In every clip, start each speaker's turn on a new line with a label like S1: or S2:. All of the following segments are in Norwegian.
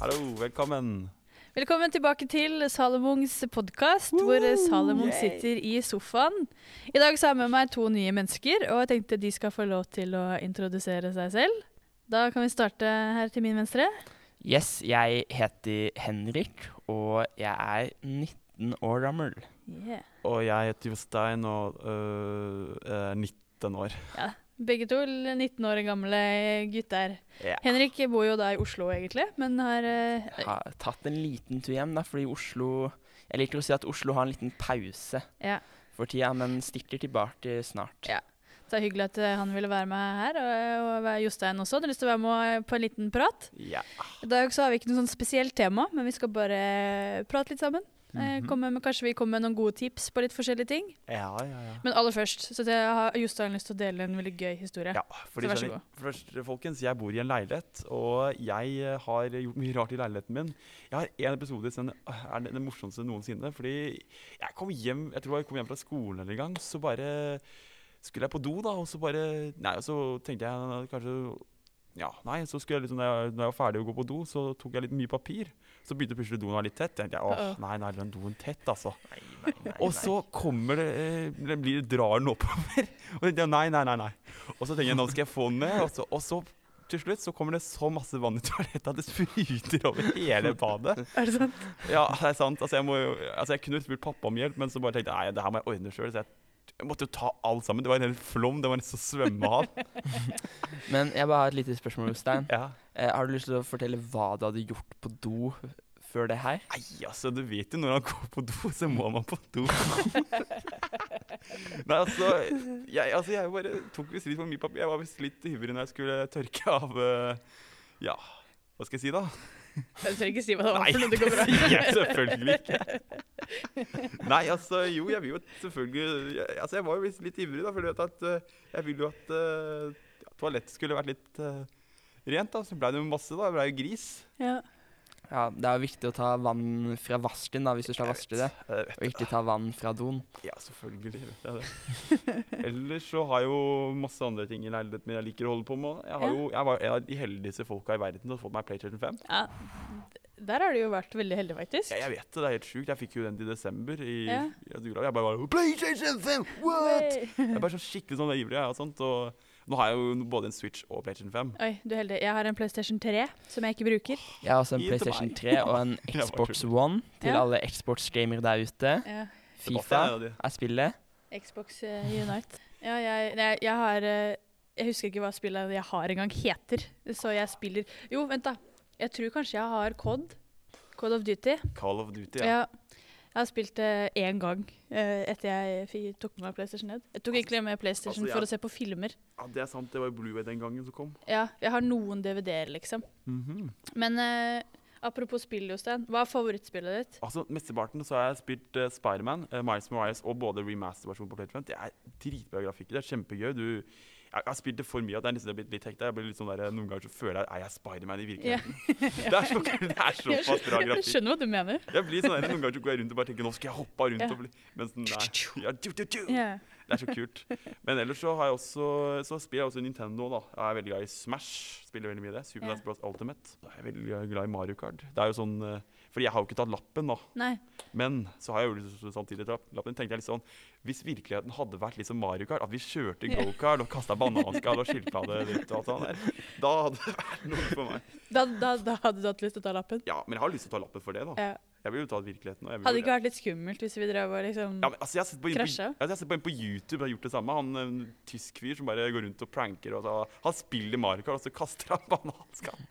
S1: Hallo, velkommen.
S2: Velkommen tilbake til Salomongs podkast, hvor Salomon sitter i sofaen. I dag så har jeg med meg to nye mennesker, og jeg tenkte de skal få lov til å introdusere seg selv. Da kan vi starte her til min venstre.
S3: Yes, jeg heter Henrik, og jeg er 19 år gammel.
S2: Yeah.
S1: Og jeg heter Jostein og øh, er 19 år.
S2: Begge to l- 19 år gamle gutter.
S1: Ja.
S2: Henrik bor jo da i Oslo egentlig, men har eh,
S3: Jeg har tatt en liten tur hjem, da, fordi Oslo Jeg liker å si at Oslo har en liten pause
S2: Ja.
S3: for tida, men stikker tilbake snart.
S2: Ja. Så det er hyggelig at eh, han ville være med her, og, og være- Jostein også. Hadde lyst til å være med eh, på en liten prat.
S1: Ja.
S2: I dag så har vi ikke noe sånn spesielt tema, men vi skal bare prate litt sammen. Eh,
S1: Mhm.
S2: komme med, kanskje vi kommer med noen gode tips på litt forskjellige ting.
S1: ja, ja, ja.
S2: Men aller først, så det har Jostein lyst til å dele en veldig gøy historie.
S1: Ja, fordi,
S2: Så vær så
S1: skjønner-
S2: god.
S1: Først, folkens, jeg bor i en leilighet, og jeg eh, har gjort mye rart i leiligheten min. Jeg har én episode som er den den morsomste noensinne. Fordi jeg kom hjem jeg tror jeg kom hjem fra skolen eller en gang, så bare skulle jeg på do, da, og så bare Nei, og så tenkte jeg eh, kanskje ja, nei, så skulle jeg liksom, når jeg, når jeg var ferdig å gå på do, så tok jeg litt mye papir. Så begynte plutselig doen å være litt tett. tenkte jeg, åh,
S2: Uh-oh.
S1: nei, nei, den doen tett, altså.
S3: Nei, nei, nei,
S1: Og så kommer det, eh, det blir, drar den oppover. Og jeg tenker, nei, nei, nei, nei. Og så tenker jeg, nå skal jeg få den ned. Og så, og så til slutt så kommer det så masse vann i toalettet at det spruter over hele badet.
S2: Er det sant?
S1: Ja, det er sant. Altså, jeg, må, jo- altså, jeg kunne jo spurt pappa om hjelp, men så bare tenkte jeg, nei, det her må jeg ordne sjøl. Så jeg, jeg måtte jo ta alt sammen. Det var en hel flom. Det var nesten å svømme av.
S3: nei. Men jeg bare har et lite spørsmål, Jostein.
S1: Ja.
S3: Eh, har du lyst til å fortelle hva du hadde gjort på do før det her?
S1: Nei, altså, du vet jo når han går på do, så må man på do. Nei, altså, jeg, altså, jeg bare tok visst litt for mye papir. Jeg var visst litt ivrig når jeg skulle tørke av eh, Ja, hva skal jeg si da?
S2: Jeg trenger ikke si hva det var
S1: Nei,
S2: for noe det
S1: det
S2: går bra.
S1: sier jeg selvfølgelig ikke. Nei, altså, jo, jeg vil jo selvfølgelig jeg, Altså, jeg var jo visst litt ivrig, da, for du vet at eh, jeg ville jo at eh, ja, toalettet skulle vært litt eh, rent, da. Så blei det jo masse, da. Det blei jo gris.
S2: Ja.
S3: Ja, Det er jo viktig å ta vann fra vasken da, hvis du skal vaske det,
S1: Jeg vet
S3: og ikke ta vann fra doen.
S1: Ja, selvfølgelig vet jeg det. Ellers så har jeg jo masse andre ting i leiligheten min jeg liker å holde på med. Jeg, har
S2: Ja.
S1: jo, jeg var en av de heldigste folka i verden til å få meg PlayStation 5.
S2: ja. Der har du jo vært veldig heldig, faktisk.
S1: Ja, jeg vet det, det er helt sjukt. Jeg fikk jo den i desember. I,
S2: Ja.
S1: i jula. Jeg bare var sånn, PlayStation 5! What?! Jeg er bare så skikkelig sånn ivrig. Jeg, og sånt, og nå har jeg jo både en Switch og PlayStation 5.
S2: Oi, du er heldig. Jeg har en PlayStation 3 som jeg ikke bruker.
S3: Jeg har også en
S1: Gi det til
S3: PlayStation
S1: meg.
S3: 3 og en
S1: var
S3: Xbox One til
S2: Ja.
S3: alle Xbox-gamere der ute.
S2: Ja.
S3: Fifa
S1: Det var flere av de.
S3: er spillet.
S2: Xbox eh, Unite. Ja, jeg, nei, jeg har eh, Jeg husker ikke hva spillet jeg har engang heter. Så jeg spiller Jo, vent, da. Jeg tror kanskje jeg har Cod. Cod of Duty.
S1: Call of Duty.
S2: Ja.
S1: Ja.
S2: Jeg har spilt det én gang eh, etter jeg fi- tok med meg PlayStation ned. Jeg tok egentlig med PlayStation
S1: Altså, jeg-
S2: for å se på filmer.
S1: ja, det er sant. Det var jo Blueway den gangen som kom.
S2: Ja, jeg har noen DVD-er, liksom.
S1: Mhm.
S2: Men eh, apropos spill, Jostein. Hva er favorittspillet ditt?
S1: Altså, Mesteparten så har jeg spilt uh, Spiderman, uh, Miles Morales og både remaster-versjonen på PlayStation. Det er dritbra grafikk. Det er kjempegøy. Du, jeg, jeg har spilt det for mye at det er nesten jeg har blitt litt hekta. Jeg blir litt sånn der, Noen ganger så føler jeg er jeg Spiderman i virkeligheten. Det er så- det er såpass
S2: Jeg
S1: bra
S2: skjønner- jeg
S1: grafikk.
S2: skjønner hva du mener.
S1: Jeg blir sånn der, Noen ganger så går jeg rundt og bare tenker nå skal jeg hoppe rundt
S2: Ja.
S1: og bli Mens den er ja, du, du, du.
S2: Ja.
S1: Det er så kult. Men ellers så har jeg også Så spiller jeg også Nintendo, da. Jeg er veldig glad i Smash. Spiller veldig mye det. Super
S2: Ja.
S1: Smash Bros. Ultimate. Da er jeg veldig glad i Mario Kart. Det er jo sånn eh, Fordi jeg har jo ikke tatt lappen, da.
S2: Nei.
S1: Men så har jeg jo liksom samtidig trapp- lappen, tenkte jeg litt sånn Hvis virkeligheten hadde vært liksom Mario Kart, at vi kjørte
S2: Ja.
S1: go-kart og kasta bananskall og skilpadde rundt og alt sånt der, da hadde det vært noe for meg.
S2: Da, da, da hadde du hatt lyst til å ta lappen?
S1: Ja, men jeg har lyst til å ta lappen for det, da.
S2: Ja.
S1: Jeg vil jo ta virkeligheten. Og jeg vil
S2: Hadde det
S1: jo-
S2: ikke vært litt skummelt hvis vi drev og liksom
S1: ja, men, altså, jeg har sett på, inn på,
S2: Krasja?
S1: altså, jeg har sett på, inn på YouTube har gjort det samme. Han en tysk fyr som bare går rundt og pranker. Og så, han spiller Mario Kart, og så kaster han bananskall.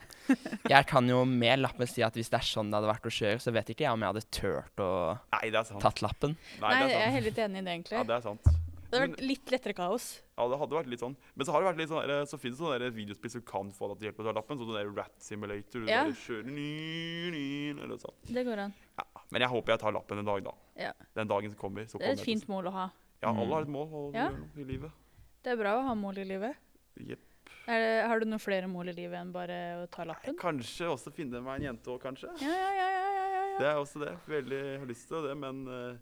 S3: Jeg kan jo med lappen si at hvis det er sånn det hadde vært å kjøre, så vet ikke jeg om jeg hadde turt å
S1: Nei, det er sant.
S3: tatt lappen.
S1: Nei,
S2: Nei,
S1: det
S2: jeg er
S1: er sant.
S2: heller litt enig i det, egentlig.
S1: Ja,
S2: det,
S1: det er sant.
S2: hadde vært litt lettere kaos.
S1: Ja, det hadde vært litt sånn. Men så har det vært litt sånn der, så finnes det sånne der videospill som kan få deg til å hjelpe deg å ta lappen. Sånn der Rat Simulator. Du
S2: Ja.
S1: bare kjører ny, ny, eller sånn.
S2: Det går an.
S1: Ja, men jeg håper jeg tar lappen en dag, da.
S2: Ja.
S1: Den dagen som kommer. Så
S2: Det er
S1: kommer
S2: et
S1: jeg til
S2: fint mål å ha.
S1: å- Ja, alle har et mål å
S2: Ja.
S1: gjøre noe i livet.
S2: Det er bra å ha mål i livet.
S1: Jepp.
S2: Er det, har du noen flere mål i livet enn bare å ta
S1: Nei,
S2: lappen?
S1: Kanskje også finne meg en jente òg, kanskje.
S2: Ja, ja, ja, ja, ja, ja, ja.
S1: Det er også det. Veldig jeg har lyst til det, men eh,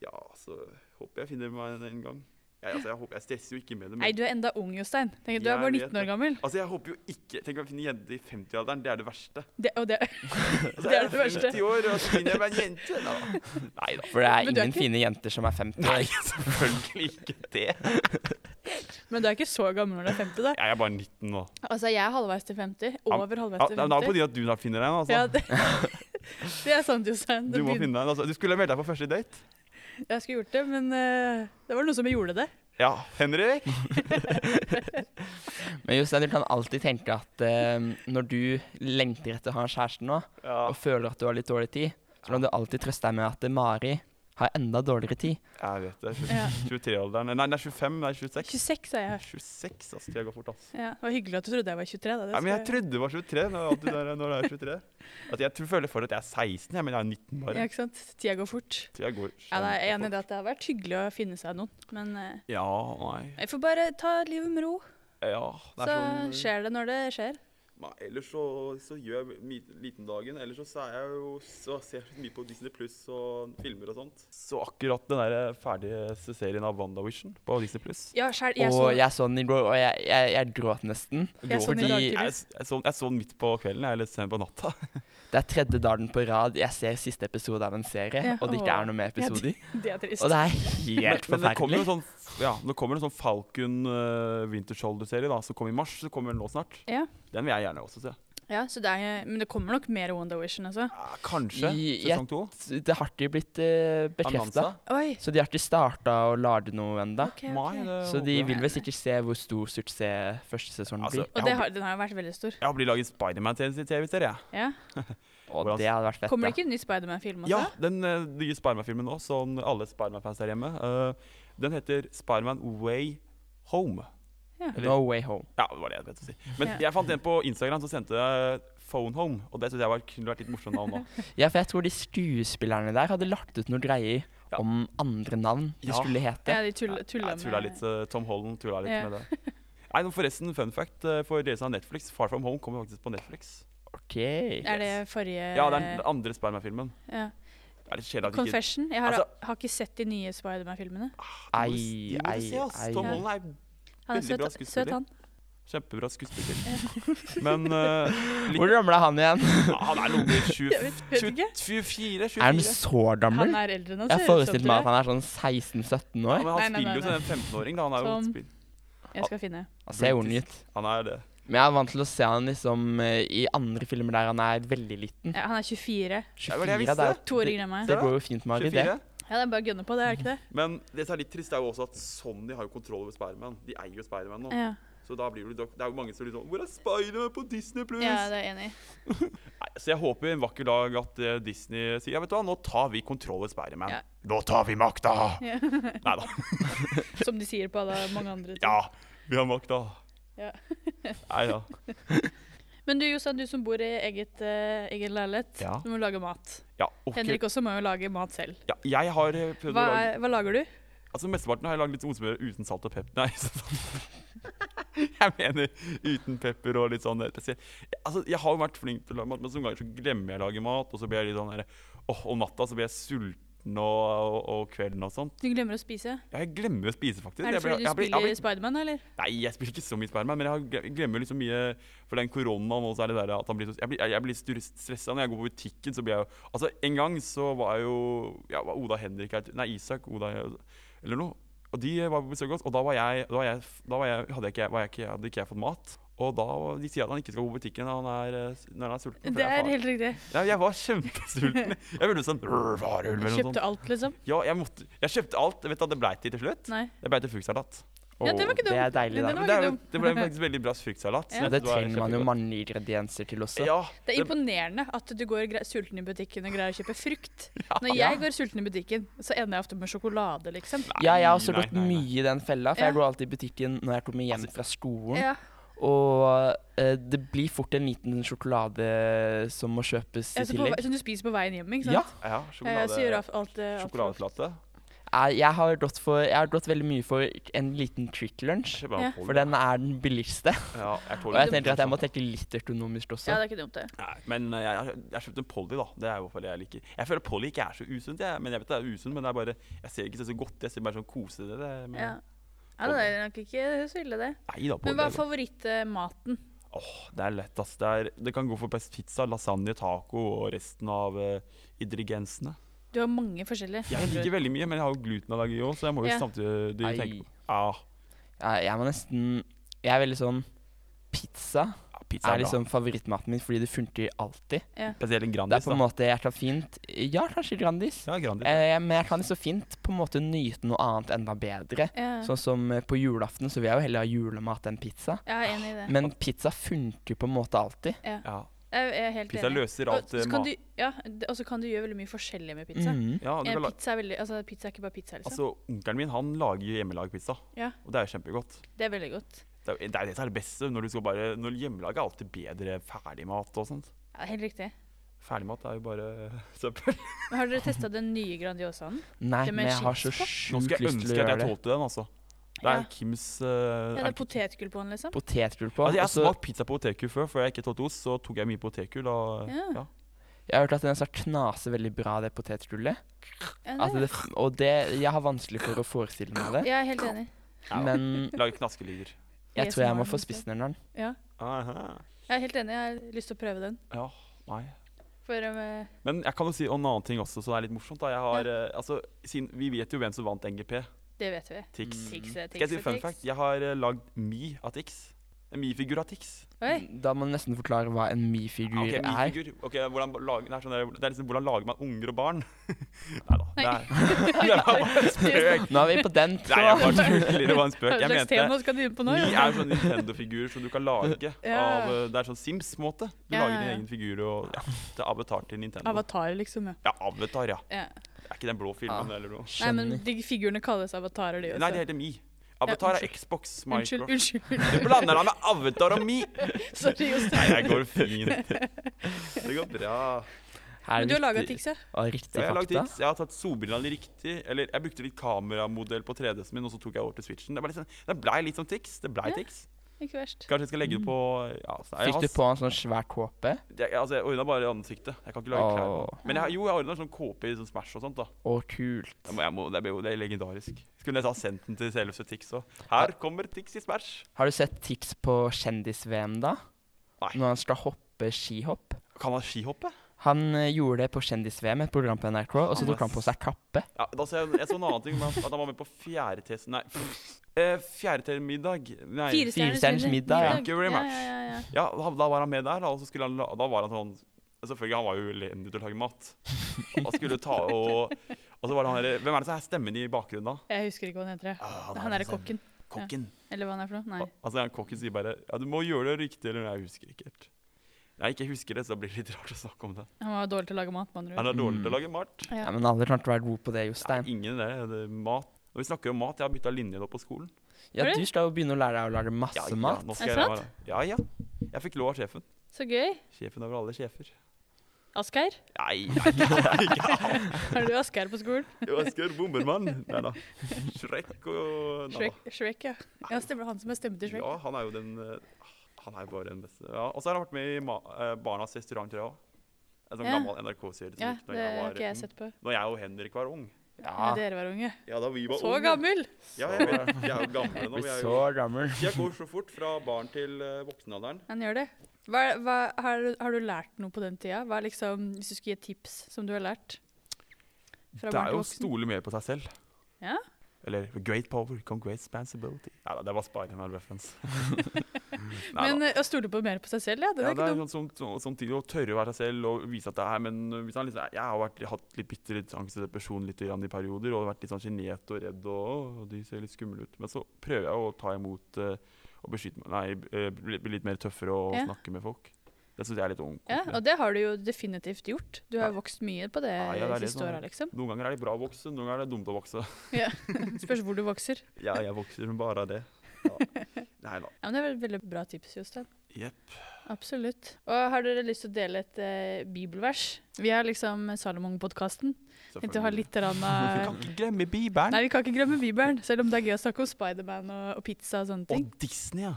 S1: ja, så håper jeg finner meg en, en gang. Jeg, altså, jeg, håper, jeg stresser jo ikke med det.
S2: Nei,
S1: Men,
S2: du er enda ung, Jostein. Tenk, du er
S1: Jeg
S2: bare
S1: vet
S2: 19
S1: det.
S2: år gammel.
S1: altså, jeg håper jo ikke Tenk å finne jente i 50-alderen. Det er det verste.
S2: Det, og det,
S1: Altså,
S2: Det er
S1: jeg
S2: det verste.
S1: 50 år, og så finner jeg meg en jente. Nei da. Neida.
S3: For det er
S2: Men du er
S3: ingen
S2: ikke-
S3: fine jenter som er 50.
S1: Nei, selvfølgelig ikke det.
S2: men du er ikke så gammel når du er 50, da.
S1: Jeg er bare 19 nå.
S2: Altså, jeg er halvveis til 50.
S1: men-
S2: Over halvveis
S1: Ja,
S2: til
S1: det er da på
S2: 50.
S1: tide at du da finner deg en.
S2: Ja,
S1: Altså.
S2: det, det er sant, Jostein.
S1: Du
S2: Det
S1: må
S2: begyn-
S1: finne deg en. Altså. Du skulle ha meldt deg på første date.
S2: Jeg skulle gjort det, men eh, det var noen som gjorde det.
S1: Ja, Henrik.
S3: Men Jostein, du kan alltid tenke at eh, når du lengter etter å ha en kjæreste nå,
S1: Ja,
S3: og føler at du har litt dårlig tid, så kan du alltid trøste deg med at eh, Mari har enda dårligere tid.
S1: jeg vet det.
S2: Ja.
S1: 23-alderen. Nei, det er 25. Nei, 26.
S2: 26 er jeg.
S1: 26, altså. Tida går fort, altså.
S2: Ja, det var hyggelig at du trodde jeg var 23. Da. Det
S1: Nei, men jeg
S2: skal
S1: trodde det var 23 når, at du der, når det er 23. At jeg tror, føler for at jeg er 16, jeg, men jeg er 19
S2: Ja,
S1: bare.
S2: ikke sant? Tida går fort.
S1: Tida går
S2: Ja, da er jeg er enig i
S1: kjempefort.
S2: det at det har vært hyggelig å finne seg noen, men eh,
S1: Ja, nei.
S2: jeg får bare ta livet med ro,
S1: Ja,
S2: så
S1: det er sånn
S2: skjer det når det skjer.
S1: Nei, ellers så, så gjør jeg mi- liten dagen. Ellers så, så er jeg jo så ser jeg mye på Disney Pluss og filmer og sånt. Så akkurat den der eh, ferdige serien av WandaVision på Disney Pluss
S2: Ja, skjær, jeg så,
S3: og jeg så den i går, og jeg, jeg, jeg gråt nesten.
S2: jeg så den i
S3: fordi-
S2: dag
S1: Jeg,
S2: tidlig.
S1: s- jeg, så, jeg så den midt på kvelden, jeg, eller sent på natta.
S3: Det er tredje dagen på rad jeg ser siste episode av en serie,
S2: Ja,
S3: og det ikke
S2: åh.
S3: er noe mer
S2: Ja,
S3: episoder.
S2: Det er trist.
S3: Og det er helt
S1: Men det kommer jo
S3: forferdelig.
S1: en sånn, ja, nå kommer det en sånn Falcon eh, Winter Shoulder-serie da, som kom i mars. Så kommer den nå snart.
S2: Ja.
S1: Den vil jeg gjerne også se.
S2: Ja, så det er, men det kommer nok mer WandaVision, altså.
S1: Ja, Ah, kanskje
S3: I-
S1: sesong to.
S3: Det har ikke blitt uh, bekrefta.
S1: Annonsa?
S2: Oi,
S3: Så de har ikke starta å lage noe ennå.
S2: ok,
S1: Mai,
S2: ok.
S1: det
S3: Så
S1: håper
S3: de
S1: jeg.
S3: vil vel sikkert se hvor stor suksess første sesong
S1: Altså,
S3: blir.
S2: Og
S1: jeg
S2: det
S1: håper-
S2: har, den har jo vært veldig stor.
S1: Jeg har blitt laget Spiderman-TV-serie, jeg.
S2: Ja.
S3: Og
S1: hvordan-
S3: det hadde vært fett.
S2: Kommer det
S3: da.
S2: ikke en ny Spiderman-film også?
S1: Ja, den eh, nye Spiderman-filmen nå, som alle Spiderman-fans der hjemme. eh, den heter Spiderman Way Home.
S3: No way home.
S1: Ja, det var det jeg vet å si. Men
S2: Ja.
S1: jeg fant en på Instagram som sendte jeg Phone Home, og det synes jeg var, kunne vært litt morsomt navn òg.
S3: Ja, for jeg tror de skuespillerne der hadde lagt ut noen greier
S1: Ja.
S3: om andre navn de
S1: Ja.
S3: skulle hete.
S2: Ja, de tulla, tulla
S1: Jeg tulla
S2: med
S1: litt, eh, Tom Holland tulla litt
S2: Ja.
S1: med det. Nei, nå forresten, fun fact eh, for dere som har Netflix. Far From Home kommer faktisk på Netflix.
S3: OK.
S2: Er det forrige
S1: Ja, det er den andre Spiderman-filmen.
S2: ja.
S1: Det er litt kjedelig at de ikke
S2: Confession? Jeg har,
S1: Altså-
S2: har ikke sett de nye Spiderman-filmene.
S1: Ah,
S3: Ei,
S1: de må du
S3: ei,
S1: se, ass.
S3: ei.
S1: Tom Holland er
S2: Han er
S1: Veldig
S2: søt,
S1: bra
S2: søt
S1: skuespiller.
S2: han.
S1: kjempebra skuespiller. Men eh,
S3: Hvor gamle er han igjen?
S1: ja, han er nummer 20,
S2: Jeg vet- vet ikke.
S1: 24, 24.
S3: Er han så gammel?
S2: Han er eldre enn han
S3: Jeg
S2: ser ut som.
S3: forestilte meg at
S2: tror jeg.
S3: han er sånn
S1: Ja,
S3: 16-17 år.
S1: men han
S2: Nei, nei,
S1: spiller jo
S2: nei, Sånn.
S1: som en 15-åring, da. Han er jo
S2: Som-
S1: spill.
S2: Jeg skal finne.
S3: Han ser ung ut.
S1: Han er det.
S3: Men jeg er vant til å se han liksom eh, i andre filmer der han er veldig liten.
S2: Ja, han er 24.
S1: det var det Mm. jeg
S3: 24 det er
S1: visste.
S2: To år
S3: det,
S2: yngre enn meg.
S3: det går jo fint, Mari. Det.
S1: 24.
S2: Ja, det er bare å gunne på det, er det ikke det?
S1: Men det som er litt trist, er jo også at Sony har jo kontroll over Spiderman. De eier jo Spiderman nå.
S2: Ja,
S1: Så da blir det, jo- det er jo mange som blir sånn Hvor er Spiderman på Disney Plus?
S2: ja det er jeg enig i.
S1: Nei, Så jeg håper en vakker dag at eh, Disney sier ja, vet du hva, nå tar vi kontroll over Spiderman.
S2: Ja.
S1: Nå tar vi makta!
S2: Ja.
S1: Nei da.
S2: Som de sier på alle mange andre ting.
S1: Ja, vi har makta.
S2: Ja.
S1: Nei da.
S2: Men du Jostein, du som bor i eget, eh, egen leilighet,
S1: Ja.
S2: du må lage mat.
S1: Ja, ok.
S2: Henrik også må jo lage mat selv.
S1: ja, jeg har eh, prøvd
S2: Hva,
S1: å lage
S2: er, hva lager du?
S1: Altså Mesteparten har jeg lagd litt osmør uten salt og pepper. Nei, jeg mener uten pepper og litt sånn eh, spesielt. Altså, jeg har jo vært flink til å lage mat, men noen ganger så glemmer jeg å lage mat. Og så blir jeg litt sånn der, åh, om natta så blir jeg sulten og, og, og kvelden og sånn.
S2: Du glemmer å spise.
S1: Ja, jeg glemmer å spise, faktisk.
S2: Er det
S1: Jeg blir-
S2: fordi du
S1: jeg blir- jeg
S2: spiller
S1: blir-
S2: Spiderman, eller?
S1: Nei, jeg spiller ikke så mye Spiderman, men jeg har gle- jeg glemmer liksom mye For den koronaen og så er det der at han blir så Jeg blir, jeg- jeg blir stur- stressa når jeg går på butikken, så blir jeg jo Altså, en gang så var jeg jo Ja, var Oda Henrik her Nei, Isak. Oda eller noe. Og de var på besøk hos oss, og da var jeg Da, var jeg, da var jeg, hadde, jeg ikke, var jeg ikke, hadde ikke jeg fått mat. Og da De sier at han ikke skal gå på butikken når han er, eh, når han er sulten. for
S2: Det
S1: er
S2: er
S1: far-
S2: helt riktig.
S1: ja, jeg var kjempesulten. Jeg ville sånn «Rrr, Varulv eller noe sånt.
S2: Kjøpte alt, liksom.
S1: Ja, jeg, måtte, jeg kjøpte alt. Vet du hva det blei til til slutt?
S2: Nei.
S1: Det blei til fruktsalat.
S2: Ja, det var ikke
S3: Åh, det
S2: dumt.
S3: er deilig,
S2: Den
S3: da.
S2: var
S1: Men det, er
S2: ikke
S1: jo- det ble faktisk veldig bra fruktsalat. så
S2: Ja.
S3: Og det
S1: var
S3: trenger man jo
S1: kjempegodt.
S3: mange ingredienser til også.
S1: Ja,
S2: Det
S1: det-
S2: er imponerende at du går gre- sulten i butikken og greier å kjøpe frukt. Når
S3: Ja.
S2: jeg går sulten i butikken, så ender jeg ofte med sjokolade, liksom.
S3: Ja, jeg
S1: Nei,
S3: har også
S1: nei,
S3: gått
S1: nei, nei.
S3: mye i den fella, for
S2: Ja.
S3: jeg går alltid i butikken når jeg kommer hjem
S1: Altså-
S3: fra skolen.
S2: Ja,
S3: Og eh, det blir fort en liten sjokolade som må kjøpes i
S2: altså på, vei-
S3: tillegg.
S2: som du spiser på veien hjem, ikke
S3: Ja.
S2: sant?
S1: Ja,
S2: Eh, så gjør
S1: sjokolade,
S2: jeg alt, eh, alt
S1: sjokoladeplate.
S3: Eh, Jeg har, gått for, jeg har gått veldig mye for en liten trick lunch,
S1: Kjøper jeg
S2: Ja.
S1: en Polo.
S3: for den er den billigste.
S1: Ja, jeg tåler
S3: Og jeg
S1: ikke
S3: tenker at jeg må
S1: sånn.
S3: tenke litt økonomisk
S2: Ja,
S3: også.
S2: det er ikke dumt, det.
S1: Nei, Men eh, jeg, jeg, jeg kjøpte en Polly, da. Det er jo fordi jeg liker Jeg føler Polly ikke er så usunt, jeg. Men jeg vet det er usunt, men det er bare Jeg ser ikke så godt. Jeg ser bare sånn kosete det. Men,
S2: Ja. Ja, det er nok ikke så ille, det.
S1: Nei da,
S2: Men hva er
S1: Pål.
S2: favorittmaten?
S1: Det er lett, ass. Det, er, det kan gå for best pizza, lasagne, taco og resten av uh, ingrediensene.
S2: Du har mange forskjellige.
S1: Jeg liker veldig mye, men jeg har jo glutenallergi òg, så jeg må jo
S2: Ja.
S1: samtidig
S3: Ai.
S1: tenke på ah,
S3: Ja, jeg må nesten Jeg er veldig sånn Pizza
S1: ja, Pizza
S3: er
S1: er bra.
S3: liksom favorittmaten min fordi det funker alltid.
S1: Spesielt en
S3: Det er
S1: Grandis.
S3: på en
S1: da.
S3: måte jeg tar fint Ja, kanskje Grandis.
S1: Ja, grandis.
S3: Eh, men jeg kan så fint på en måte nyte noe annet enda bedre.
S2: Ja.
S3: Sånn som eh, på julaften, så vil jeg jo heller ha julemat enn pizza.
S2: Jeg er enig i det.
S3: Men pizza funker på en måte alltid.
S1: Ja.
S2: Jeg er helt
S1: Pizza
S2: enig.
S1: løser alt
S2: Og
S1: eh,
S2: så kan
S1: mat. Mm.
S2: du, ja, d- og så kan du gjøre veldig mye forskjellig med pizza.
S3: Mhm.
S1: Ja, du
S2: Eh,
S1: kan la
S2: Pizza er, veldig, altså, pizza er ikke bare pizza, liksom.
S1: altså, onkelen min han lager hjemmelagpizza,
S2: Ja.
S1: og det er jo kjempegodt.
S2: det er veldig godt.
S1: Det er, det er det som er det beste. Når du skal bare, når hjemmelaget er alltid bedre ferdigmat og sånt.
S2: Ja, helt riktig.
S1: Ferdigmat er jo bare søppel.
S2: Men har dere testa den nye Grandiosaen?
S1: Eh,
S3: Nei,
S2: Det med
S3: men jeg har så
S2: chips på?
S1: Nå
S3: sjukt
S1: skulle jeg
S3: lyst til
S1: ønske
S3: å
S1: at jeg
S3: gjøre det.
S1: tålte den, altså. Det
S2: Ja.
S1: er Kims eh, er
S2: Ja, det er
S1: det Kim-
S2: potetgull på den, liksom?
S3: Potetgull på.
S1: Altså, jeg har
S3: og så-
S1: smakt pizza på potetgull før, for jeg ikke tålte ost. Så tok jeg mye potetgull. og-
S2: Ja.
S1: Ja.
S3: jeg har hørt at den skal knase veldig bra, det potetgullet.
S2: Ja,
S3: At
S1: Altså,
S2: det.
S3: det, f- og det Jeg har vanskelig for å forestille meg det.
S2: Jeg er helt enig.
S1: Ja.
S3: Men
S1: Lager knaskelyder.
S3: jeg
S2: Jeg
S3: tror jeg
S2: som har
S3: må
S2: den
S3: få spist den. Ørnar.
S2: Ja,
S1: Aha.
S2: jeg er helt enig. Jeg har lyst til å prøve den.
S1: Ja, nei.
S2: For eh,
S1: Men jeg kan jo si en annen ting også, så det er litt morsomt. da. Jeg har, eh, altså, siden Vi vet jo hvem som vant NGP.
S2: det vet vi.
S1: Tix. Mm.
S2: Tix,
S1: Skal jeg si
S2: Mm. tix,
S1: en fun fact? Jeg har uh, lagd Mi av Tix. En Mi-figur av Tix.
S2: Oi.
S3: Da må du nesten forklare hva en
S1: Ja,
S3: Mi-figur
S1: ok,
S3: er.
S1: Mi-figur. Ok, hvordan lager, det, er sånn, der- det er liksom hvordan lager man unger og barn? Nei da. Det,
S2: sånn
S1: er- det var bare en spøk.
S3: Nå er vi på den
S1: Nei, jeg
S3: tråden.
S1: bare tuller. Det var en
S2: Hva
S1: spøk. Jeg
S2: slags
S1: mente
S2: tema skal du inn på nå?
S1: Mi
S2: ja?
S1: er jo sånn Nintendo-figur som du kan lage
S2: Ja.
S1: av eh, Det er sånn Sims-måte. Du
S2: Ja,
S1: lager
S2: ja,
S1: din
S2: ja.
S1: egen figur og ja, Det er avatar til Nintendo.
S2: Avatar, liksom. Ja.
S1: Ja, Avatar, ja.
S2: ja.
S1: Det er ikke den blå filmen eller noe.
S2: Nei, men
S3: Skjønner.
S2: de figurene kalles avatarer, de også.
S1: Nei, det heter Mi. Avatar er
S2: unnskyld.
S1: Xbox,
S2: Unnskyld,
S1: Minecraft
S2: unnskyld.
S1: Du blander deg med Avatar og Mi!
S2: Sorry, Jostein.
S1: Nei, jeg går fint. Det går bra.
S3: Her
S2: Men
S3: er
S2: du har laga
S3: riktig-
S2: Tix, ja?
S3: og Riktig
S1: Ja, jeg, har lagd
S3: fakta.
S1: tics. jeg har tatt solbrillene riktig. Eller jeg brukte litt kameramodell på 3DS-en min, og så tok jeg over til Switchen. Det, var litt sånn, det blei litt som Tix. Det blei
S2: Ja.
S1: Tix.
S2: Ikke verst.
S1: Kanskje jeg skal legge det på ja, så- jeg
S3: Fikk
S1: har
S3: du på en sånn svær kåpe?
S1: Jeg, altså, jeg ordna bare ansiktet. Jeg kan ikke lage klær. på
S3: Åh.
S1: den. Men jeg, har- jo, jeg ordna sånn kåpe i sånn Smash og sånt. da.
S3: Å, kult.
S1: Jeg må, jeg må, det, er, jo- det er legendarisk. Skulle nesten ha sendt den til selveste Tix òg. Her kommer Tix i Smash.
S3: Har du sett Tix på kjendis-VM, da?
S1: Nei.
S3: Når han skal hoppe skihopp?
S1: Kan han skihoppe?
S3: Han eh, gjorde det på Kjendis-VM, et program på NRK, og så tok han på seg kappe.
S1: Ja, da så jeg, jeg så en annen ting, men at han var med på fjerde test... Nei, eh, fjerde til middag. Nei.
S3: Firestjerners middag, ja.
S1: Thank you very much.
S2: Ja, ja, ja, ja.
S1: Ja, da, da var han med der, da, og så skulle han la, da var han sånn Selvfølgelig, han var jo elendig til å lage mat. Han skulle ta og Og så var det han der Hvem er det som er stemmen i bakgrunnen da?
S2: Jeg husker ikke hva han heter. jeg.
S1: Ah,
S2: Han er liksom kokken.
S1: Kokken.
S2: Eller hva han er for noe. Nei.
S1: Altså, han kokken sier bare Ja, du må gjøre det riktig, eller jeg husker ikke helt. Når jeg ikke husker det, så blir det litt rart å snakke om det.
S2: Han var dårlig til å lage mat, med andre
S1: Han
S2: ord.
S1: er dårlig til å lage mat.
S2: Ja.
S3: Ja, men alle kan ikke være gode på det,
S1: Nei,
S3: Jostein.
S1: ingen det, det er mat. Når vi snakker om mat, jeg har bytta linje nå på skolen.
S3: Ja,
S2: Har du?
S3: Du skal jo begynne å lære deg å lage masse mat.
S1: nå
S2: Er
S1: skal jeg
S2: det
S1: lære meg det. Ja, ja. Jeg fikk lov av sjefen.
S2: Så gøy.
S1: Sjefen over alle sjefer.
S2: Asgeir?
S1: Nei, nei, nei, nei.
S2: Har du Asgeir på skolen?
S1: Jo, Asgeir Bombermann. Nei da. Shrek og Nei da.
S2: Shrek, Shrek ja. ja. Stemmer det han som er stemmen til Shrek?
S1: Ja, han er jo den eh, Han er jo bare den beste. Ja, og så har han vært med i Ma eh, Barnas restaurant, tror jeg òg. En sånn
S2: Ja.
S1: gammel NRK-serie. som
S2: Ja,
S1: gikk
S2: det har ikke jeg
S1: ung.
S2: sett på.
S1: Når jeg og Henrik var ung.
S2: Ja.
S3: Ja,
S2: Dere var unge.
S1: Ja, da vi var
S2: Så
S1: unge.
S2: gammel!
S1: Ja, jeg vet. Vi er jo gamle nå.
S3: blir
S1: Vi er
S3: så
S1: jo
S3: gammel.
S1: jeg går så fort fra barn til eh, voksenalderen.
S2: Han gjør det. Hva, hva, har, du- har du lært noe på den tida? Hva er liksom, hvis du skulle gi et tips som du har lært? Fra
S1: Det
S2: barn
S1: er
S2: til
S1: jo å
S2: voksen?
S1: stole mer på seg selv.
S2: Ja.
S1: Eller Great power come great responsibility. Nei da, det var Spiderman-reference. Nei da.
S2: Men eh, å stole på mer på seg selv, ja. Det er
S1: Ja, det
S2: ikke
S1: er
S2: dumt.
S1: sånn, som- som- samtidig å tørre å være seg selv og vise at det er Men øh, hvis han liksom, er- jeg har vært, hatt litt bitte litt angst og depresjon litt grann i perioder og vært litt sånn sjenert og redd og «Åh, de ser litt skumle ut. Men så prøver jeg å ta imot øh, og beskytte meg Nei, øh, bli bli litt mer tøffere og
S2: Ja.
S1: snakke med folk. Det syns jeg er litt ung.
S2: Ja, og det har du jo definitivt gjort. Du har
S1: Ja.
S2: vokst mye på det
S1: Ja, ja, det er sånn. det
S2: siste
S1: som er-
S2: åra, liksom.
S1: Noen ganger er det bra å vokse, noen ganger er det dumt å vokse.
S2: Spørs hvor du vokser.
S1: Ja, jeg vokser bare av det. Ja. Nei da.
S2: Ja, men Det er vel et veldig bra tips, Jostein.
S1: Jepp.
S2: Absolutt. Og har dere lyst til å dele et eh, bibelvers? Vi har liksom Salomon-podkasten. Tenkte å ha litt rann
S1: Vi
S2: av
S1: kan ikke glemme Bibelen.
S2: Nei, vi kan ikke glemme Bibelen, selv om det er gøy å snakke om Spiderman og, og pizza og sånne ting.
S1: Og Disney, ja.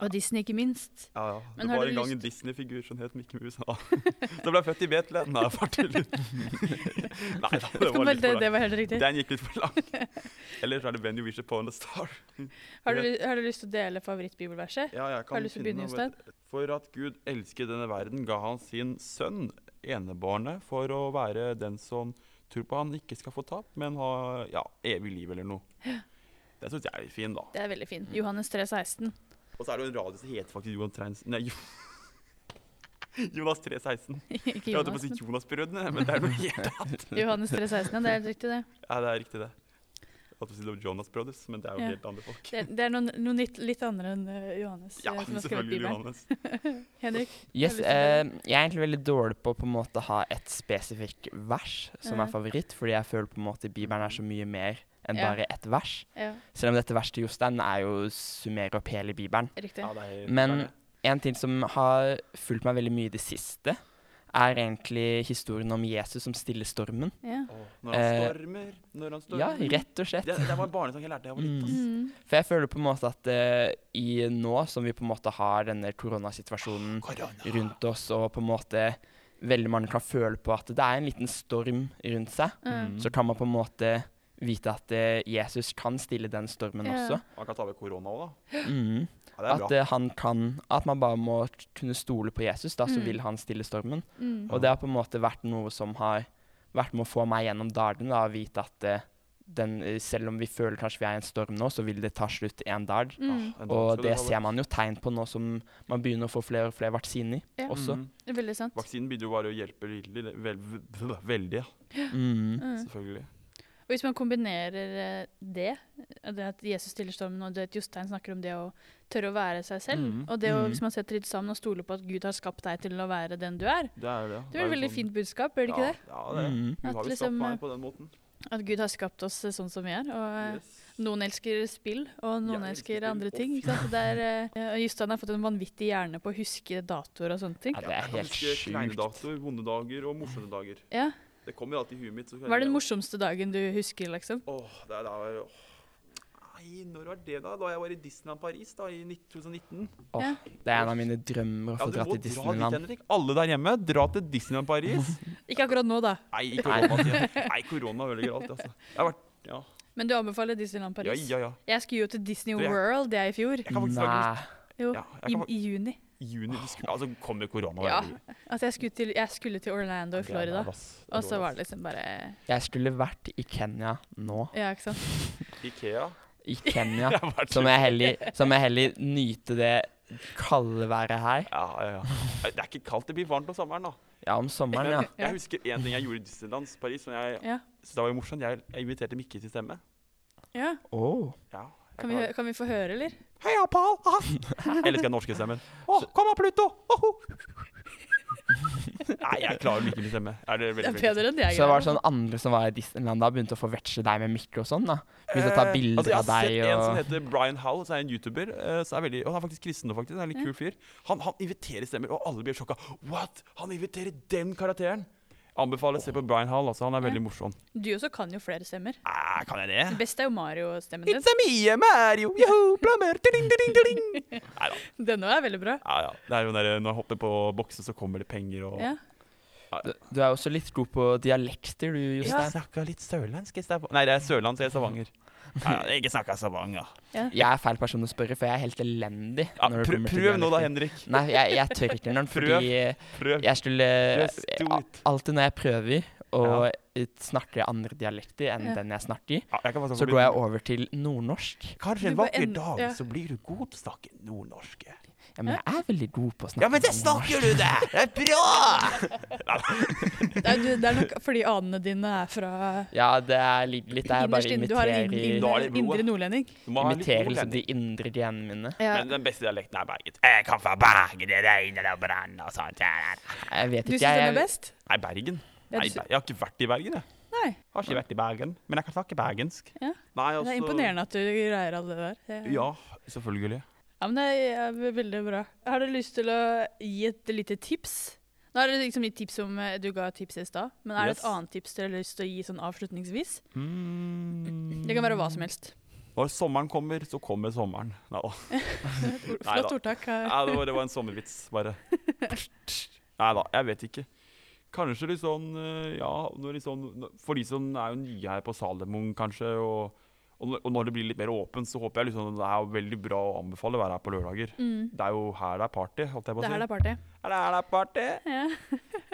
S2: Og Disney, ikke minst.
S1: Ja, ja.
S2: Men
S1: Det
S2: har
S1: var
S2: du
S1: en gang en Disney-figur som het Mikke Mus. Ja. Som ble født i Betlehem. Nei, far til Nei da, det var
S2: Men
S1: litt
S2: det,
S1: for
S2: det
S1: langt.
S2: var helt riktig.
S1: Den gikk litt for langt. Eller så er det When You Wish Upon a Star.
S2: Har du, har du lyst til å dele favorittbibelverset?
S1: Ja, jeg kan
S2: Har du lyst til å
S1: finne
S2: begynne,
S1: noe, vet du. For at Gud elsker denne verden, ga han sin sønn, enebårne, for å være den som tror på han ikke skal få tap, men ha ja, evig liv eller noe. Den syns jeg er litt fin, da.
S2: Det er veldig fint. Johannes 3, 16.
S1: Og så er det jo en radio som heter faktisk Johan Treins... Nei, jo. Jonas 316.
S2: ikke
S1: Jeg holdt på å
S2: Johannes,
S1: si
S2: men
S1: Jonas-brødrene, men det er noe helt annet.
S2: Johannes 3, 16, ja, det er helt riktig, det.
S1: Ja, det er riktig, det. Jeg holdt på å si det var Jonas Brothers, men det er jo
S2: Ja.
S1: helt andre folk.
S2: Det er, det er noen, noe litt, litt andre enn eh, Johannes.
S1: Ja,
S2: eh, som har skrevet
S1: selvfølgelig
S2: Bibelen.
S1: Johannes.
S2: Henrik? Har du
S3: Yes,
S2: lyst til å
S3: eh, jeg er egentlig veldig dårlig på å på en måte ha et spesifikt vers som
S2: Ja.
S3: er favoritt, fordi jeg føler på en måte Bibelen er så mye mer enn
S2: Ja.
S3: bare ett vers.
S2: Ja,
S3: Selv om dette verset til Jostein er jo summerer opp hele Bibelen.
S2: riktig.
S1: Ja, det er helt
S3: Men
S1: klart det.
S3: en ting som har fulgt meg veldig mye i det siste, er egentlig historien om Jesus som stiller stormen.
S2: Ja.
S1: Å, Når han
S3: eh,
S1: stormer, når han
S3: Ja,
S1: stormer
S3: rett og slett.
S1: Det, det var en barnesang jeg lærte da jeg var liten. ass.
S2: Mm.
S3: For jeg føler på en måte at eh, i nå som vi på en måte har denne koronasituasjonen
S1: Korona.
S3: rundt oss, og på en måte veldig mange kan føle på at det er en liten storm rundt seg,
S2: Mm.
S3: så kan man på en måte vite at eh, Jesus kan stille den stormen
S2: Ja.
S3: også.
S1: Han kan ta ved korona òg, da.
S3: Mhm.
S1: Ja, det er
S3: At
S1: bra.
S3: eh, han kan At man bare må t- kunne stole på Jesus, da, så
S2: Mm.
S3: vil han stille stormen.
S2: Mm.
S3: Og det har på en måte vært noe som har vært med å få meg gjennom dalene, da, å vite at eh, den, eh, selv om vi føler kanskje vi er i en storm nå, så vil det ta slutt en dag.
S2: Mm.
S1: Åh, en dag skal
S3: Og det
S1: ha,
S3: ser man jo tegn på nå som man begynner å få flere og flere vaksiner
S2: Ja.
S3: også.
S1: Mhm.
S2: Veldig sant.
S1: Vaksinen begynner jo bare å hjelpe veldig, vel- vel- veldig ja.
S3: Mm.
S2: Mm.
S1: selvfølgelig.
S2: Og hvis man kombinerer eh, det, eh, det at Jesus stiller stormen, og det at Jostein snakker om det å tørre å være seg selv,
S1: Mhm.
S2: og det å,
S3: Mhm.
S2: hvis man setter litt sammen og stoler på at Gud har skapt deg til å være den du er,
S1: Det er jo det.
S2: det er jo et veldig fint budskap, bør det ikke
S1: ja,
S2: det?
S1: Ja, det er det.
S3: Mm.
S1: Hun
S2: At
S1: har jo
S2: liksom,
S1: skapt
S2: eh,
S1: meg på den måten.
S2: At Gud har skapt oss eh, sånn som vi er. Og eh,
S1: Yes.
S2: noen elsker spill, og noen
S1: Jeg elsker
S2: elsker
S1: spill,
S2: andre
S1: og
S2: ting. Ikke sant? Så Det er, eh, og Jostein har fått en vanvittig hjerne på å huske datoer og sånne ting.
S3: Ja, det er
S1: Jeg kan
S3: helt
S1: huske kleine
S3: sjukt.
S1: datoer, vonde dager og morsomme dager.
S2: Ja.
S1: Det kommer jo alltid i huet mitt. så
S2: Hva er den
S1: jeg-
S2: morsomste dagen du husker, liksom?
S1: Åh, det er da åh. Nei, når var det, da? Da jeg var i Disneyland Paris da, i 2019.
S3: Åh,
S2: Ja.
S3: det er en av mine drømmer å
S1: Ja,
S3: få
S1: du
S3: dra
S1: må dra
S3: til
S1: dit,
S3: Disneyland.
S1: Henrik. Alle der hjemme, dra til Disneyland Paris.
S2: Ikke akkurat nå, da,
S1: Nei, i koronatiden. Nei, korona ødelegger alt, altså. Jeg har vært Ja,
S2: men du anbefaler Disneyland
S1: ja,
S2: Paris.
S1: ja. ja.
S2: Jeg skulle jo til Disney
S1: Du, jeg-
S2: World, jeg, i fjor.
S1: Jeg kan faktisk lage
S3: Nei.
S1: musikk.
S2: Jo,
S1: Ja, jeg
S2: i,
S1: kan,
S2: i juni.
S1: I juni du skulle, altså, kom jo korona.
S2: Ja.
S1: det
S2: Altså, jeg skulle til, jeg skulle til Orlando i
S1: er jævlig,
S2: Florida,
S1: ass. er
S2: og så
S1: dårlig,
S2: var
S1: ass.
S2: det liksom bare
S3: Jeg skulle vært i Kenya nå.
S2: Ja, ikke sant.
S1: Ikea.
S3: I Kenya.
S1: Jeg har vært
S3: Så må jeg heller, så må jeg heller nyte det kalde været her.
S1: Ja, ja, ja. Det er ikke kaldt, det blir varmt om sommeren, da.
S3: Ja, om sommeren, ja.
S1: Men jeg husker en ting jeg gjorde i Disneyland Paris, som jeg
S2: Ja.
S1: syntes var jo morsomt. Jeg, jeg inviterte Mikke til stemme.
S2: ja.
S3: Åh.
S1: Ja, jeg
S2: Kan, vi, hø- kan vi få høre, eller?
S1: Heia, Pal! Eller skal jeg norske stemmen? Å, kom da, Pluto! Åhå! Nei, jeg klarer Mikke til stemme. Er det
S2: Det
S1: veldig
S2: er bedre enn det jeg
S3: Så det var sånn andre som var i Disneyland da, begynte å forveksle deg med Mikke og sånn, da. Begynte å ta
S1: Eh,
S3: bilder
S1: altså,
S3: av deg
S1: Jeg har sett en som
S3: og
S1: heter Brian Howell, som er en YouTuber. eh, som er veldig, og han er faktisk kristen nå, faktisk. Han er en litt kul fyr. Han, han inviterer stemmer, og alle blir sjokka. What?! Han inviterer den karakteren! Anbefaler å se på Brian Howell, altså. Han er
S2: Ja.
S1: veldig morsom.
S2: Du også kan jo flere stemmer.
S1: Æ, kan jeg det?
S2: Det beste er jo Mario-stemmen din.
S1: It's a me, Mario, joho, plummer, ding, ding, ding. Nei da.
S2: Den òg er veldig bra.
S1: Ja, ja. Det er jo den der, når jeg hopper på boksen, så kommer det penger og
S2: Ja.
S3: Du- Du er jo også litt god på dialekter, du,
S1: Jeg
S3: Jostein.
S1: snakka litt sørlandsk i stad. Nei, det er sørlandsk, jeg er stavanger. Ja, jeg ikke snakka stavanger.
S3: Jeg er feil person å spørre, for jeg er helt elendig.
S1: Ja,
S3: når det
S1: prøv,
S3: kommer til
S1: prøv nå da,
S3: dialekter.
S1: Henrik.
S3: Nei, jeg, jeg tør ikke engang,
S1: Prøv.
S3: fordi
S1: Prøv.
S3: jeg skulle
S1: Just do
S3: a-
S1: it.
S3: Alltid når jeg prøver å snakke andre dialekter enn
S2: Ja.
S3: den jeg snakker,
S1: Ja, jeg kan bare snakke
S3: så går jeg over til nordnorsk.
S1: Kanskje
S2: Du
S1: en
S2: bare
S1: vakker
S2: end-
S1: dag
S2: ja.
S1: så blir du god til å snakke nordnorsk.
S3: Ja, men jeg er veldig god på å snakke
S1: Ja, men det
S3: nordnorsk.
S1: snakker du, det! Det er bra!
S2: Det er, du- det er nok fordi anene dine er fra
S3: Ja, det er ligger litt der.
S2: innerst
S3: Jeg bare
S2: inne. Du har en
S3: imiterer,
S1: Da er
S2: indre,
S1: det blodet.
S2: indre nordlending.
S1: Du må ha litt
S3: imiterer
S1: nordlending.
S3: liksom de indre genene mine.
S2: Ja.
S1: Men eh, den beste dialekten er Bergen. Jeg kan fra Bergen, det regner og brenner og sånt. Nei,
S3: Jeg vet
S2: Du
S3: ikke,
S2: syns den er
S3: jeg,
S2: best?
S1: Bergen?
S2: Ja,
S1: Nei, Altså-
S2: du
S1: Ber-
S2: sy-
S1: jeg har ikke vært i Bergen, jeg.
S2: Nei.
S1: Har ikke vært i Bergen, men jeg kan snakke bergensk.
S2: Ja.
S1: Nei, altså-
S2: Det er imponerende at du greier alt det der. Det-
S1: Ja, selvfølgelig.
S2: Ja, men det er ve- veldig bra. Har du lyst til å gi et lite tips? Nå er det liksom gitt tips om eh, Du ga et tips i stad, men er det
S1: Yes.
S2: et annet tips dere har lyst til å gi sånn avslutningsvis?
S1: Mm.
S2: Det kan være hva som helst.
S1: Når sommeren kommer, så kommer sommeren. Nei, å, Neida.
S2: Flott ordtak. eh.
S1: nei, det, var, det var en sommervits, bare. Nei da, jeg vet ikke. Kanskje litt sånn eh, Ja, når litt sånn, når- for de som er jo nye her på Salomon, kanskje. Og, og når- og når det blir litt mer åpent, så håper jeg liksom det er jo veldig bra å anbefale å være her på lørdager.
S2: Mm.
S1: Det er jo her det er party, holdt jeg på å
S2: Det
S1: si.
S2: her er party.
S1: Er det her det er party?
S2: Ja.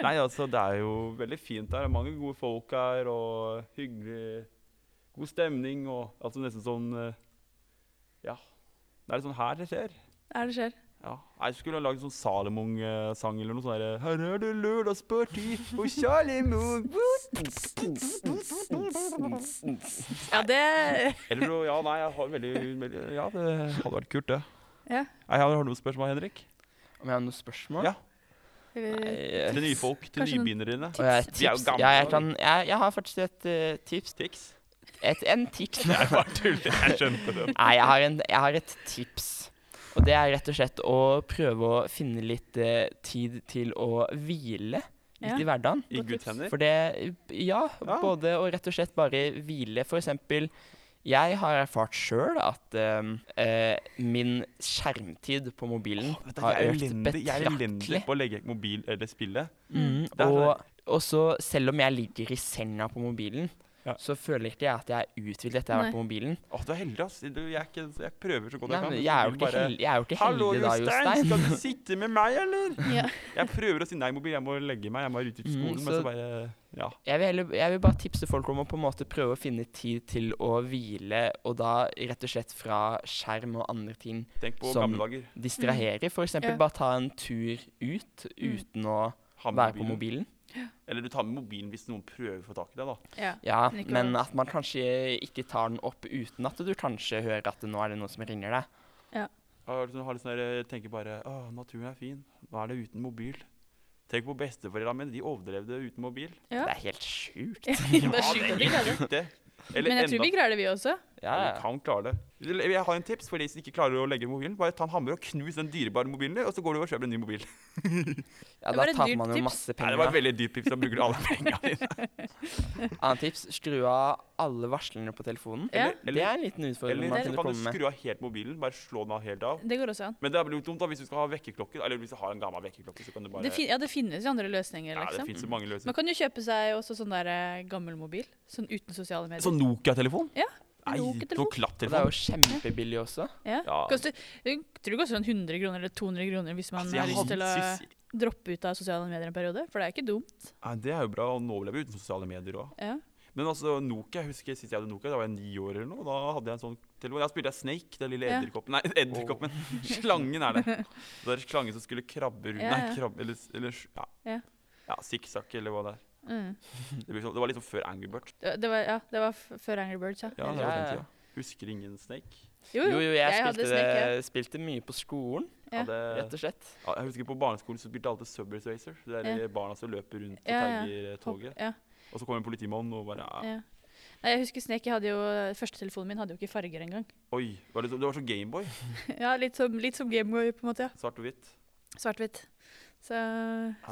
S1: Nei, altså, det er jo veldig fint her. Det er mange gode folk her, og hyggelig God stemning og altså nesten sånn eh, Ja. Det er litt sånn her det skjer.
S2: Det er det skjer.
S1: Ja. Jeg skulle ha lagd sånn Salomon-sang eller noe sånn derre Her er det lørdagsparty på Salomon!
S2: Ja, det
S1: Eller så Ja, nei, jeg har veldig, veldig Ja, det hadde vært kult, det.
S2: Ja.
S1: Nei, har du noen spørsmål, Henrik?
S3: Om jeg har noen spørsmål?
S1: Ja.
S2: Eller-
S3: Nei,
S1: Til nye folk? Til
S2: Kanskje noen
S1: nybegynnere dine?
S3: og jeg,
S1: Vi er jo
S3: tips.
S1: gamle
S3: Ja, jeg,
S1: nå.
S3: kan, jeg, jeg har faktisk et eh, tips.
S1: Tics?
S3: Et, en tips.
S1: Nei, bare tuller. Jeg skjønte det.
S3: Nei, jeg har, en, jeg har et tips. Og det er rett og slett å prøve å finne litt eh, tid til å hvile
S2: Ja.
S3: litt i hverdagen.
S1: I
S2: Godt tips.
S1: Guds hender?
S3: For det Ja,
S1: Ja.
S3: både og rett og slett bare hvile. For eksempel, jeg har erfart sjøl at ehm, eh, min skjermtid på mobilen
S1: Vet du,
S3: har
S1: jeg er
S3: økt
S1: elendig- Jeg er elendig
S3: betraktelig.
S1: på å legge vekk mobil eller spille.
S3: Mm,
S1: er
S3: og, og så, selv om jeg ligger i senga på mobilen,
S1: Ja.
S3: så føler ikke jeg at jeg er uthvilt etter jeg har
S2: Nei.
S3: vært på mobilen.
S1: Å, du er heldig, ass. Du, jeg, er ikke, jeg prøver så godt
S3: Nei,
S1: jeg kan.
S3: men
S1: men
S3: jeg er jo
S1: mobilen
S3: ikke
S1: bare,
S3: heldig, jeg er jo ikke
S1: Hallo,
S3: heldig da,
S1: Jostein,
S3: Jostein.
S1: skal du sitte med meg, eller?
S2: Ja.
S1: Jeg prøver å si nei, mobil. Jeg må legge meg. Jeg må være ute i
S3: Mm,
S1: skolen. men
S3: så-
S1: så bare Ja.
S3: Jeg vil, heller, jeg vil bare tipse folk om å på en måte prøve å finne tid til å hvile, og da rett og slett fra skjerm og andre ting
S1: Tenk på
S3: Som-
S1: gamle dager.
S3: distrahere. For eksempel
S2: Ja. Mm.
S3: bare ta en tur ut uten å
S1: Ha med
S3: være på
S1: mobilen.
S3: mobilen.
S1: Eller du tar med mobilen hvis noen prøver å få tak i deg, da.
S2: ja.
S3: Ja,
S2: Men ikke
S3: men
S2: overalt.
S3: at man kanskje ikke tar den opp uten at du kanskje hører at nå er det noen som ringer deg.
S1: Jeg har liksom- har litt sånn der, jeg tenker bare Å, naturen er fin. Nå er det uten mobil. Tenk på besteforeldrene mine. De overlevde uten mobil.
S2: Ja.
S3: Det er helt sjukt.
S2: Det er sjukt at vi klarer det.
S1: Sjukt, det. Eller
S2: Men jeg tror
S1: enda
S2: vi klarer det, vi også.
S3: Ja,
S1: Ja, Du
S3: ja.
S1: kan klare det. Eller, Jeg har en tips for de som ikke klarer å legge mobilen. Bare ta en hammer og knus den dyrebare mobilen, din, og så går du og kjøper en ny mobil.
S3: ja
S2: Det
S3: da
S2: var et dyrt
S3: taper man jo
S2: tips.
S3: masse
S1: Nei, det
S3: penger.
S1: var et
S3: da.
S1: veldig dyrt tips. Da bruker du alle pengene dine.
S3: Annet tips, skru av alle varslene på telefonen.
S2: Ja.
S3: det
S1: Eller,
S3: er en liten utfordring
S1: eller,
S3: man
S1: så
S3: kunne
S1: kan
S3: komme
S1: du
S3: med.
S1: skru av helt mobilen. Bare slå den av helt av.
S2: Det går også an.
S1: Men det blir jo dumt da, hvis du skal ha vekkerklokke. Eller hvis du har en gammel vekkerklokke, så kan du bare
S2: Det, fin ja, det finnes jo andre løsninger,
S1: Ja, det
S2: liksom.
S1: fins så mange
S2: Man
S1: løsninger.
S2: kan jo kjøpe seg også sånn der eh, gammel mobil, sånn uten sosiale medier.
S1: Så Nokia-telefon?
S2: Ja,
S1: Nei, noe
S2: Nokia-telefon.
S3: Og det er
S1: klapptelefon.
S3: jo kjempebillig også.
S2: Ja.
S1: Ja.
S2: Koster, jeg tror det koster sånn 100 kroner eller 200 kroner hvis man
S1: Altså, jeg
S2: har
S1: hadde-
S2: lyst til å
S1: sys-
S2: droppe ut av sosiale medier en periode, for det er ikke dumt.
S1: Nei, det er jo bra. Og nå overlever uten sosiale medier òg.
S2: Ja.
S1: Men altså, Nokia, jeg husker sist jeg hadde Nokia, da var jeg ni år eller noe. Da hadde jeg en sånn telefon. Da spilte jeg Snake, den lille
S2: Ja.
S1: edderkoppen. Nei, edderkoppen. Slangen er det. Det er slangen som skulle krabbe rundt.
S2: Ja, ja.
S1: Nei, krabbe eller, eller Ja,
S2: Ja.
S1: ja sikksakk eller hva det er.
S2: Mm.
S1: Det, blir sånn, det var litt sånn før Angry Bird.
S2: Det, det var, ja, det var f før Angry Birds, ja.
S1: Ja, det var
S3: Ja, ja.
S1: den tida. Husker ingen Snake?
S2: Jo,
S3: Jo, jo, jeg,
S2: Uh, hadde
S3: spilte,
S2: Snake, ja.
S3: det, spilte mye på skolen,
S1: Ja.
S2: Ja.
S1: det,
S3: rett og slett.
S1: ja, jeg husker på barneskolen så spilte alle Subway Racer. Det er de barna som løper rundt og
S2: Ja, ja.
S1: tagger eh, toget.
S2: Ja,
S1: Og så kommer en politimann og bare "Ah, ja.
S2: ja. Nei, jeg husker Snake, jeg hadde jo, første telefonen min hadde jo ikke farger engang.
S1: Oi. Det var, litt, sånn- det var så Gameboy.
S2: Ja, litt som, litt som Gameboy, på en måte, ja.
S1: Svart og hvitt.
S2: Svart-hvitt. Så,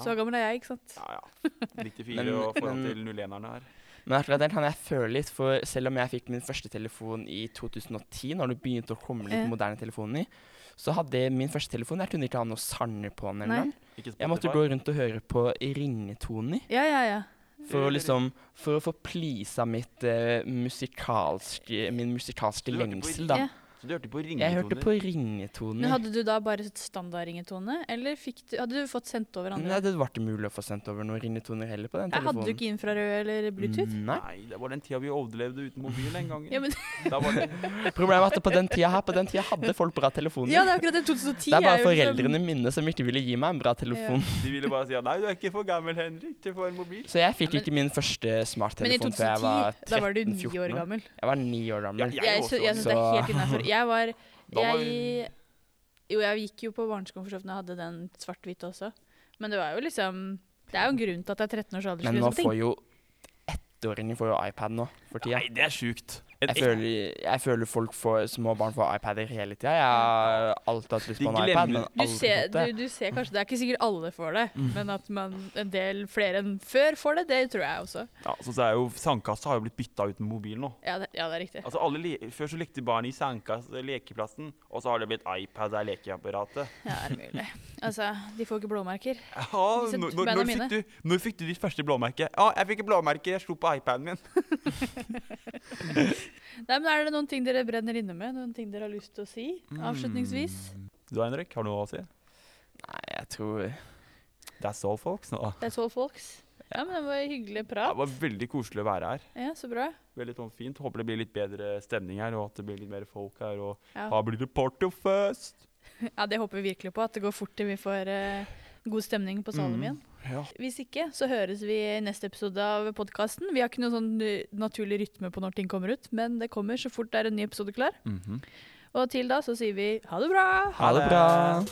S2: så gammel er jeg, ikke sant?
S1: Ja, ja. 94
S3: Men-
S1: og forhold
S3: men-
S1: til 01-erne her.
S3: Men akkurat den kan jeg føle litt, for selv om jeg fikk min første telefon i 2010, når det begynte å komme litt
S2: Ja.
S3: moderne telefoner, så hadde min første telefon Jeg kunne ikke ha noe sanger på den.
S2: Nei.
S3: eller noe.
S1: Ikke
S3: Jeg måtte gå
S1: Spotify.
S3: rundt og høre på ringetoner
S2: Ja, ja, ja.
S3: for å liksom For å få pleasa mitt eh, musikalske Min musikalske
S1: Du hørte på
S3: lengsel,
S2: Ja.
S3: da.
S1: Så du hørte på ringetoner?
S3: Jeg hørte på ringetoner.
S2: Men hadde du da bare standardringetone, eller fikk du, hadde du fått sendt over
S3: Nei,
S2: andre?
S3: det var ikke mulig å få sendt over noen ringetoner heller på den
S2: Jeg hadde
S3: telefonen.
S2: du ikke infrarød eller Bluetooth?
S3: Nei.
S1: Nei, det var den tida vi overlevde uten mobil en gang.
S2: Ja, men,
S1: Da var det
S3: Problemet er at på den tida her, på den tida hadde folk bra telefoner.
S2: ja, det er akkurat det. 2010
S3: Det er bare
S2: jo liksom-
S3: foreldrene mine som ikke ville gi meg en bra telefon.
S1: De ville bare si at nei, du er ikke for gammel, Henrik, til å få en mobil.
S3: Så jeg fikk
S2: Ja, men-
S3: ikke min første
S2: Men i
S3: smarttelefon før jeg
S2: 2010,
S3: var
S2: da var du
S3: 13-14
S2: ni år gammel.
S3: Jeg var ni år gammel.
S1: Ja,
S2: Jeg,
S1: Jeg
S2: jeg,
S1: også
S2: sy-
S1: var
S2: jeg syns det er
S3: så-
S2: helt innafor. Jeg var
S1: Da var
S2: jeg, Jo, jeg gikk jo på barneskolen for så vidt, men jeg hadde den svart-hvite også. Men det var jo liksom Det er jo en grunn til at det er 13 års
S3: Men nå
S2: aldersgrense på
S3: får
S2: ting.
S3: jo ettåringer får jo iPad nå for tida.
S1: Nei, det er sjukt. En
S3: Jeg
S1: ek-
S3: føler, jeg føler folk får, små barn får iPader hele tida. Jeg har alltid hatt lyst
S1: De
S3: på en
S1: glemmer-
S3: iPad, men
S2: Du
S3: aldri
S2: ser,
S3: fått det. Mm.
S2: du, du ser kanskje, Det er ikke sikkert alle får det, men at man, en del flere enn før får det, det tror jeg også.
S1: ja, så, så er jo, Sandkassa har jo blitt bytta ut med mobil nå.
S2: Ja, det, ja, det er riktig.
S1: Altså alle le Før så lekte barn i sandkasse, lekeplassen, og så har det blitt iPad er lekeapparatet.
S2: Ja, er det mulig. Altså, de får ikke blåmerker.
S1: Ja,
S2: Disse
S1: når, når,
S2: beina
S1: når, fikk
S2: mine.
S1: du, når fikk du ditt første blåmerke? Ja, jeg fikk et blåmerke, jeg slo på iPaden min.
S2: Nei, men Er det noen ting dere brenner inne med? Noen ting dere har lyst til å si?
S3: Mm.
S2: Mm. Avslutningsvis?
S1: Du Henrik, har du noe å si?
S3: Nei, jeg tror
S1: That's all, folks. Nå.
S2: That's all folks. Ja, men Det var en hyggelig
S1: Det
S2: prat.
S1: var veldig koselig å være her.
S2: Ja, Så bra.
S1: Veldig sånn fint. Håper det blir litt bedre stemning her, og at det blir litt mer folk her. Og
S2: Ja.
S1: her blir det partyfest!
S2: ja, Det håper vi virkelig på. At det går fort til vi får eh, god stemning på salen
S1: Mm.
S2: igjen.
S1: Ja.
S2: Hvis ikke, så høres vi i neste episode av podkasten. Vi har ikke noen sånn eh, naturlig rytme på når ting kommer ut, men det kommer så fort det er en ny episode klar.
S1: Mhm.
S2: Og til da så sier vi ha det bra!
S3: Ha det bra.